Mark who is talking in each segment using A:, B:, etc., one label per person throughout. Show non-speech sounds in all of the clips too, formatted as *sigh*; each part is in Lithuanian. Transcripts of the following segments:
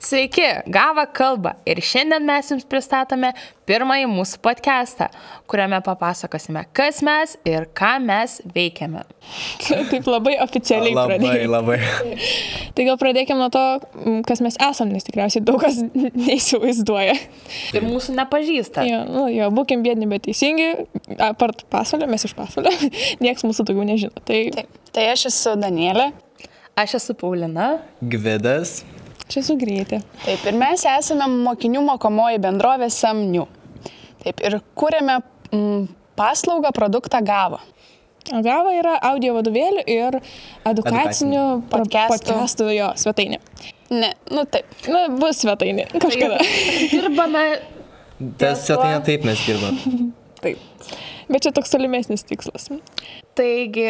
A: Sveiki, gava kalba ir šiandien mes jums pristatome pirmąjį mūsų podcastą, kuriame papasakosime, kas mes ir ką mes veikiame.
B: *laughs*
A: Taip labai oficialiai
C: Labai,
A: pradėjome.
C: labai.
B: Tai gal pradėkime nuo to, m, kas mes esam, nes tikriausiai daug kas *laughs* neįsivaizduoja.
A: Ir mūsų nepažįsta.
B: Jo, nu, jo būkim biedni, bet teisingi. Apart pasaulio, mes iš pasaulio, *laughs* niekas mūsų daugiau nežino. Tai
D: Taip, tai aš esu Danielė.
A: Aš esu Paulina.
C: Gvidas.
B: čia sugrėti.
D: Taip, ir mes esame mokinių mokomoji bendrovė Samnių. Taip, ir kūrėme mm, paslaugą produktą Gava.
B: Gava yra audio vadovėlių ir edukacinių
C: Edukacinių.
B: pro-
D: Podcastų.
B: podcastų jo svetainė.
D: Ne, nu taip.
B: Na, bus svetainė kažkada.
A: *laughs*
B: *laughs*
A: Dirbame. Ties tuo-
C: Tas svetainė taip mes dirbam.
A: Taip.
B: Bet čia toks tolimesnis tikslas.
A: Taigi,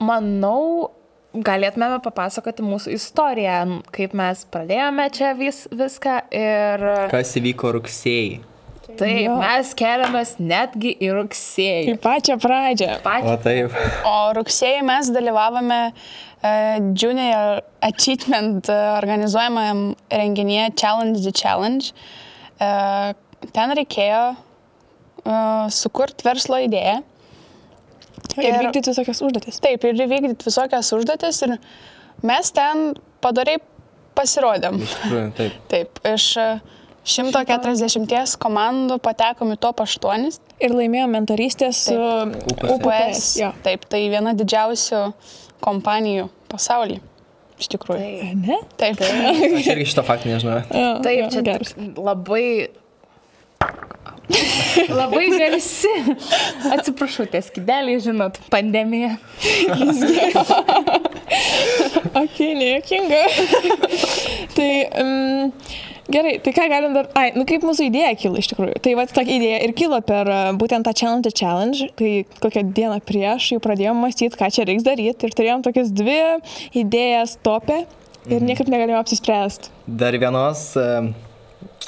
A: manau, galėtumėme papasakoti mūsų istoriją, kaip mes pradėjome čia vis, viską ir
C: Kas įvyko rugsėjai?
A: taip,
B: Jo.
A: mes keliamės netgi į
B: Į
A: rugsėjį.
B: pačią pradžią.
C: O
A: Pačią
C: taip.
D: O rugsėjai mes dalyvavome uh, Junior Achievement e, organizuojamam renginyje Challenge the Challenge. Uh, ten reikėjo uh, sukurti verslo idėją.
B: Ir
D: Ir-
B: vykdyti visokias užduotis.
D: Taip, ir įvykdyti visokias užduotis. Ir mes ten padariai pasirodėm.
C: Iš tikrųjų, taip.
D: Taip, iš e, 140 komandų patekom į top 8.
B: Ir laimėjo mentorystę su
C: UPS.
D: UPS.
B: jo.
D: Taip, tai viena didžiausių kompanijų pasaulyje. Iš tikrųjų.
A: Taip.
B: Ne?
D: Taip. *laughs*
C: Aš irgi šito faktų nežinau.
B: Jo,
A: Taip,
B: jo,
A: čia
B: geras.
A: geras. Labai. Labai garsi. Atsiprašau, tie skideliai, žinot, pandemija.
B: Ok,
A: *laughs*
B: nejuokinga. tai um, gerai, tai ką galim dar... Ai, nu kaip mūsų idėja kilo iš tikrųjų. Tai va, ta idėja ir kilo per a, būtent tą Challenge Challenge, kai kokią dieną prieš jau pradėjom mąstyti, ką čia reiks daryti ir turėjom tokias dvi idėjas topę ir niekaip negalėjom apsispręsti.
C: Dar vienos e,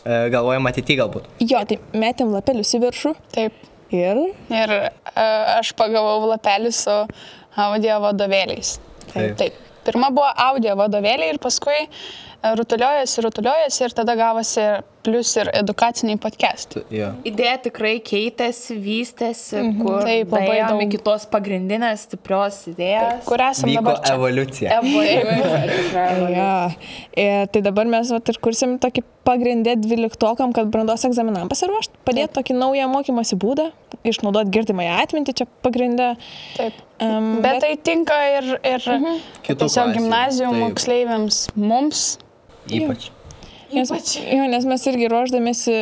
C: e, galvojam ateity galbūt.
B: Jo, tai metėm lapelius į viršų
D: Taip.
B: ir...
D: Ir e, aš pagavau lapelį su audio vadovėliais.
C: Taip.
D: Taip. Pirma buvo audio vadovėliai ir paskui e, rutuliojasi, rutuliojasi ir tada gavosi plus ir edukaciniai podcastai.
C: Tu- Jo.
A: Idėja tikrai keitėsi, vystėsi, mhm. kur
D: Taip, labai
A: daėjom
D: daug.
A: iki tos pagrindinės stiprios idėjos.
D: Kur esame
C: Vyko
D: dabar? Čia?
C: evoliucija.
D: *laughs*
A: Evoliucija.
B: Jo. Ir tai dabar mes vat, ir kursim tokį pagrindę dvyliktokam, kad brandos egzaminam pasiruošt, padėti tokį naują mokymosi būdą, išnaudoti girdimąją atmintį čia pagrindę.
D: Taip.
B: Um,
D: Bet tai tinka ir, ir mhm.
C: Kitų
D: tiesiog
C: klasių,
D: gimnazijų
C: taip.
D: moksleiviams, mums.
C: Ypač.
B: nes, jo, nes mes irgi ruoždamėsi,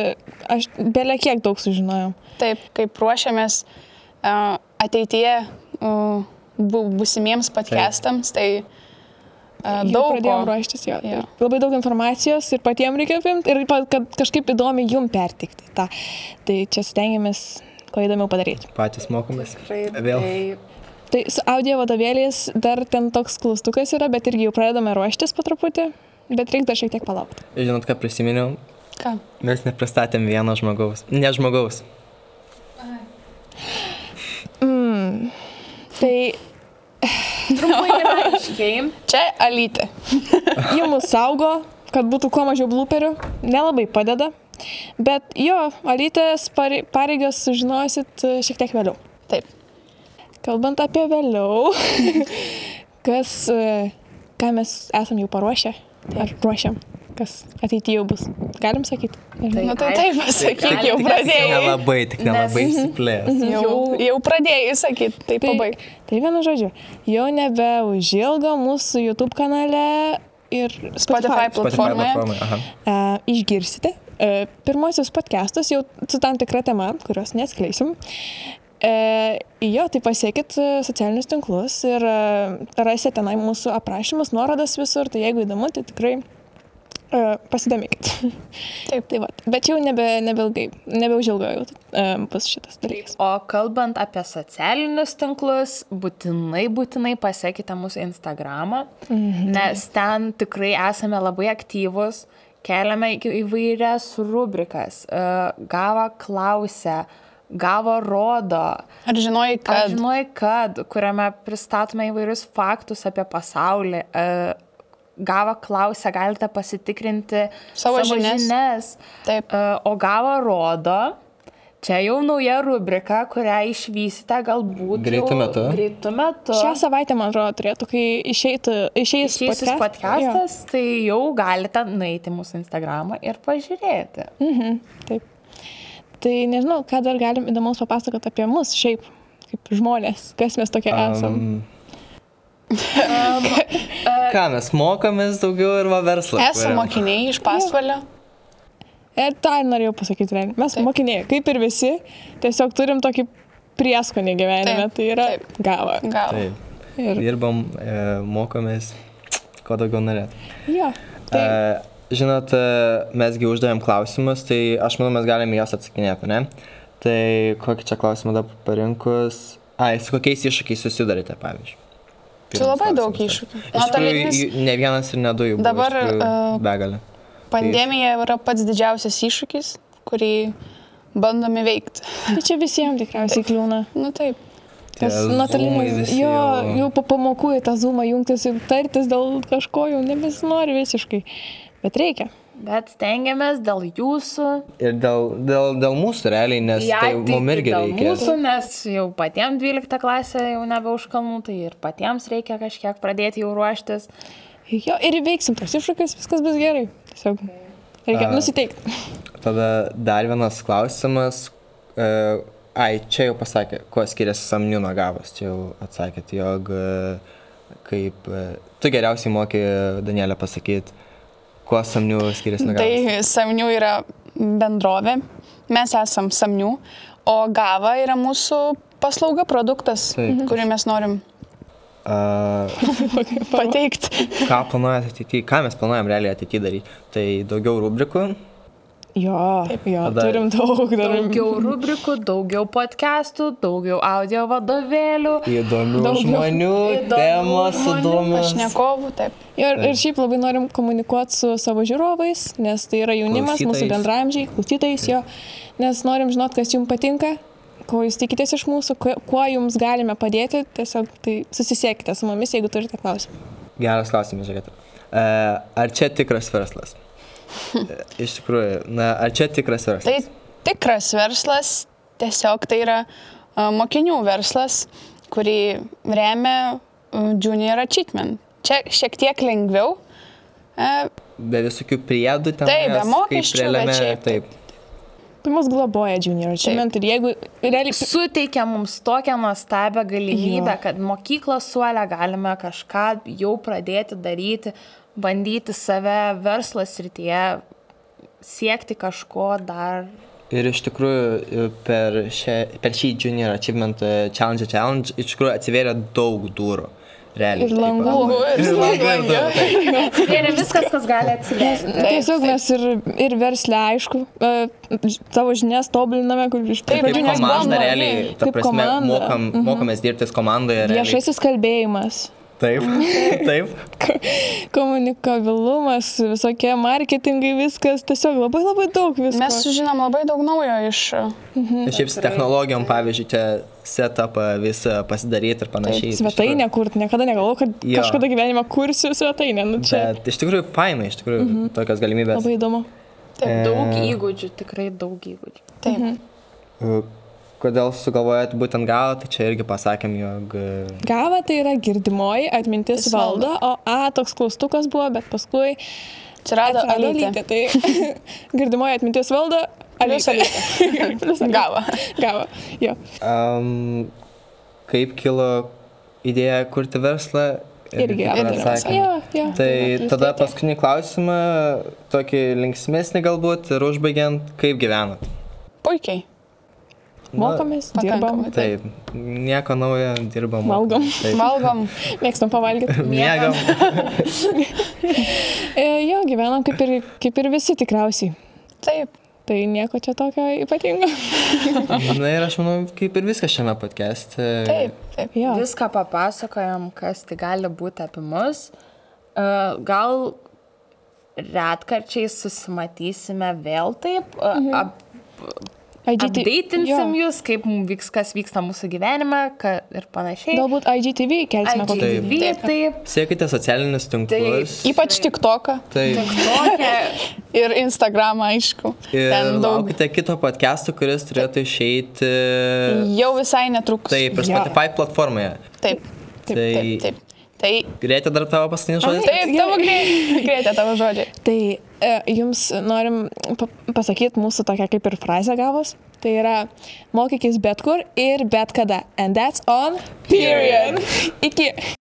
B: aš belie kiek daug sužinojau.
D: Taip, kaip ruošiamės uh, ateityje uh, bu, busimiems podcastams, tai uh,
B: Jau
D: daug
B: pradėjom
D: ko.
B: ruoštis jo.
D: Jo.
B: Yeah. Labai daug informacijos ir patiems reikia apimti ir pa- kad kažkaip įdomi jum pertikti tą. Tai čia stengiamės kuo įdomiau padaryti.
C: Patys mokomės. Vėl.
B: Tai su audio vadovėliais dar ten toks klaustukas yra, bet irgi jau pradedame ruoštis po truputį, bet reikia dar šiek tiek palaukti.
C: Žinot, ką prisiminiau?
D: Ką?
C: Mes nepristatėm vieno žmogaus. Ne žmogaus.
B: Tai
A: Game.
D: Čia alytė.
B: jie mus saugo, kad būtų kuo mažiau blūperių, nelabai padeda, bet jo, alytės pare- pareigas sužinosit e, šiek tiek vėliau.
D: Taip.
B: Kalbant apie vėliau, *laughs* kas, e, ką mes esam jau paruošę, ar ruošiam, kas ateityje jau bus, galim sakyti.
A: Tai
B: Nežinau.
D: Na nu, tai
A: aišku.
D: taip pasakyk, jau
A: Tik-
D: pradėjai. Mhm.
C: Nelabai, tik nelabai
A: Nes-
C: išsiplės.
D: Jau, jau pradėjai sakyti, tai
B: Tai,
D: pabaig.
B: tai vienu žodžiu, jau nebeužilgo mūsų YouTube kanale ir
D: Spotify
C: Spotify
D: platformoje.
C: platformoje. Aha.
B: E, išgirsite e, pirmosius podcastus jau su tam tikra tema, kurios neskleisim. E, jo, tai pasiekit e, socialinius tinklus ir e, rasite tenai mūsų aprašymus, nuorodas visur, tai jeigu įdomu, tai tikrai e, pasidomėkit.
D: Taip.
B: *laughs* tai va, bet čia jau nebe, nebeilgai, nebeužilgo jau e, bus šitas dalykas.
A: O kalbant apie socialinius tinklus, būtinai, būtinai pasiekite mūsų Instagramą, mhm. nes ten tikrai esame labai aktyvus, keliame į- įvairias rubrikas. e, Gavo klausia, gavo rodo,
D: Ar žinojai,
A: Aš
D: kad...
A: žinojai, kad, kuriame pristatome įvairius faktus apie pasaulį, e, gavę klausę galite pasitikrinti
D: Savo žinias.
A: žinias.
D: Taip.
A: E, O gavę rodo, čia jau nauja rubrika, kurią išvysite galbūt
C: Greitu
A: jau
C: metu.
A: Greitų metų.
B: Šią savaitę, man atrodo, turėtų, kai išeitų, išeis
A: Šis
B: podcast- Jo,
A: podcastas, tai jau galite nueiti į mūsų Instagramą ir pažiūrėti.
B: Taip. Tai nežinau, ką dar galim įdomus papasakoti apie mus šiaip, kaip žmonės, kas mes tokie um, esam.
D: *laughs*
A: e,
C: Ką mes mokomės daugiau ir va verslą.
D: Esame
C: kuriam.
D: mokiniai iš pasvalio.
B: Ir E, tą ir norėjau pasakyti, realiai. Mes taip. mokiniai, kaip ir visi, tiesiog turim tokį prieskonį gyvenime,
D: Taip,
B: tai yra
D: taip.
B: gava.
D: Gal.
C: Taip.
B: Ir,
C: Dirbam, e, mokomės, ko daugiau norėt.
B: jo, Tai
C: E,
B: taip,
C: žinot, e, mesgi uždavėm klausimus, tai aš manau, mes galime į juos atsakinėti, ne? Tai kokį čia klausimą dabar parinkus? Ai, su kokiais iššūkiais susidarėte, pavyzdžiui?
D: Čia labai
C: Pirmas
D: daug
C: klausimas. tai.
D: iššūkių.
C: Iš tikrųjų,
D: Nuotolinis-
C: jų- ne vienas ir ne du jų. buvo, iš
D: Dabar,
C: tikrųjų,
D: e,
C: Begalė.
D: Pandemija yra pats didžiausias iššūkis, kurį bandome veikti.
B: tai čia visiems tikriausiai kliūna.
D: Nu taip.
B: Tas
C: Tie Zoomai
B: nuotolinis,
C: visi
B: jo,
C: jau-
B: jau po pamokų į tą zoomą jungtis ir tartis dėl kažko jau nebesinori visiškai. Bet reikia.
A: Bet stengiamės dėl jūsų.
C: Ir dėl, dėl, dėl mūsų realiai, nes
A: į
C: tai
A: ateitį,
C: mums irgi
A: dėl
C: reikia.
A: Mūsų, nes jau patiems 12 klasė jau nebe už kalnų, tai ir patiems reikia kažkiek pradėti jau ruoštis.
B: Jo, ir įveiksim tos iššūkius, viskas bus gerai. Tiesiog reikia
C: A.
B: nusiteikti.
C: Tada dar vienas klausimas. E, ai, čia jau pasakė, kuo skiriasi samnių nuo gavos. Čia jau atsakėt, jog e, kaip... E, tu geriausiai moki Danielę pasakyti, kuo samnių skiriasi nuo gavos.
D: Tai Samnių yra bendrovė, mes esam Samnių, o Gava yra mūsų paslauga, produktas, Mhm.
C: Taip.
D: kurį mes norim
C: Tai...
D: pateikti.
C: E, ką planuojate ateityje, ką mes planuojam realiai ateityje daryti. Tai daugiau rubrikų.
B: Jo, jo,
C: Tada- *laughs*
B: turim daug darbų.
A: Daugiau rubrikų, daugiau podcastų, daugiau audio vadovėlių.
C: Įdomių
A: Daugiau
C: žmonių,
A: įdomių
C: temos
A: žmonių,
C: įdomios.
D: Pašnekovų, taip.
B: Ir, ir šiaip labai norim komunikuoti su savo žiūrovais, nes tai yra jaunimas, mūsų
C: Klausytojais.
B: bendramžiai, klausytais jo, nes norim žinot, kas jums patinka, ko jūs tikitės iš mūsų, kuo- kuo jums galime padėti, tiesiog tai susisiekite su mumis, jeigu turite klausimų.
C: Geras klausimas, žiūrėkite. Ar čia tikras
A: *laughs*
C: verslas? E, Iš tikrųjų, na, ar čia tikras verslas?
D: Tai tikras verslas, tiesiog tai yra a, mokinių verslas, kurį remia a, Junior Achievement. Čia šiek tiek lengviau. E, a,
C: Be visokių priedų ten.
D: Taip, be mokesčių, bet šiaip
C: Taip.
B: Tai mus globoja Junior Achievement ir jeigu realiai
A: Suteikia mums tokią nuostabią galimybę, jo. kad mokyklos suolę galime kažką jau pradėti daryti, bandyti save verslo srityje, siekti kažko
C: *laughs*
A: dar.
C: Ir iš tikrųjų per, šią, per šį Junior Achievement e, Challenge Challenge iš tikrųjų atsivėrė daug durų. Realiai.
B: Ir langų.
C: Taip, ir langų. Ir durų, taip.
A: Ir viskas, kas gali atsiliepti.
B: Tiesiog mes ir, ir verslę, aišku, e, savo žinias tobuliname, kur iš
D: Taip,
C: Kaip
B: pradžių
D: nes buvom
C: komanda,
D: mokiniai.
C: realiai. Ta
B: Kaip
C: prasme,
B: komanda.
C: mokam, mokomės dirbtis komandoje. realiai.
B: Viešasis kalbėjimas,
C: Taip, taip.
B: komunikabilumas, visokie marketingai, viskas, tiesiog labai labai daug visko.
D: Mes sužinom labai daug naujo iš e, a,
C: Ir Šiaip su technologijom, pavyzdžiui, čia e, setupą visą pasidaryti ir panašiai. Iš
B: svetainę kurti, niekada negalvoju, kad
C: Jo.
B: jo. kažkada gyvenime kursiu svetainę, nu čia
C: Bet iš tikrųjų, fainai, iš tikrųjų, tokios galimybės. E,
B: labai įdomu.
A: Daug įgūdžių, tikrai daug įgūdžių.
D: Taip.
C: Kodėl sugalvojot būtent galą, tai čia irgi pasakėm, jog... e,
B: Gava tai yra girdimoji, atmintis
D: Jis valdo.
B: valdo, o A toks klaustukas buvo, bet paskui
D: Atsirado
B: atsirado lytė,
D: alytė.
B: tai *laughs* girdimoji atmintis valdo,
D: Plius
B: alytė. *laughs*
D: Gavo.
B: Gavo, jo.
C: Um, kaip kilo idėja kurti verslą?
B: Irgi
C: kaip
B: aptarėm.
C: atsakėm.
B: Jo, jo.
C: Tai
B: Vat, vis
C: tada
B: tiek.
C: paskutinį klausimą, tokį linksmėsnį galbūt ir užbaigiant, kaip gyvenat?
D: Puikiai.
B: Mokomės, dirbam,
D: Pakankamai.
C: Taip, Tai nieko naujo, dirbam.
B: Valgom.
C: Taip.
D: Valgom.
B: mėgstam pavalgyti.
C: Miegam.
B: E, jo, gyvenam kaip ir, kaip ir visi tikriausiai.
D: Taip.
B: Tai nieko čia tokio ypatingo.
C: Na ir aš manau, kaip ir viskas šiame podcast'e.
D: Taip. Taip.
B: Jo.
A: Viską papasakojom, kas tai gali būti apie mus. E, Gal retkarčiais susimatysime vėl taip, e, ap,
B: IGT
A: Apdeitinsim
B: tai jo.
A: jūs, kaip mum vyks, kas vyksta mūsų gyvenime ka, ir panašiai.
B: Galbūt IGTV kelsime kokį.
A: IGTV, taip. taip.
C: Siekite socialinius tinklus.
D: Ypač TikToką
C: Taip.
A: Tokia,
D: ir Instagramą, aišku.
C: Ir
D: Ten daug.
C: laukite kito podcast'o, kuris turėtų išeiti.
D: Jau visai netrukus.
C: Taip, ir
B: Jo.
C: Spotify platformoje.
D: Taip.
C: Taip,
D: Taip, taip. Tai
C: Greitai dar tavo paskutinį žodį.
D: taip, tavo gre- greitė tavo žodžiai.
B: Tai e, jums norim pa- pasakyti mūsų tokia kaip ir frazė gavos. Tai yra mokykis bet kur ir bet kada. And that's on period. Iki.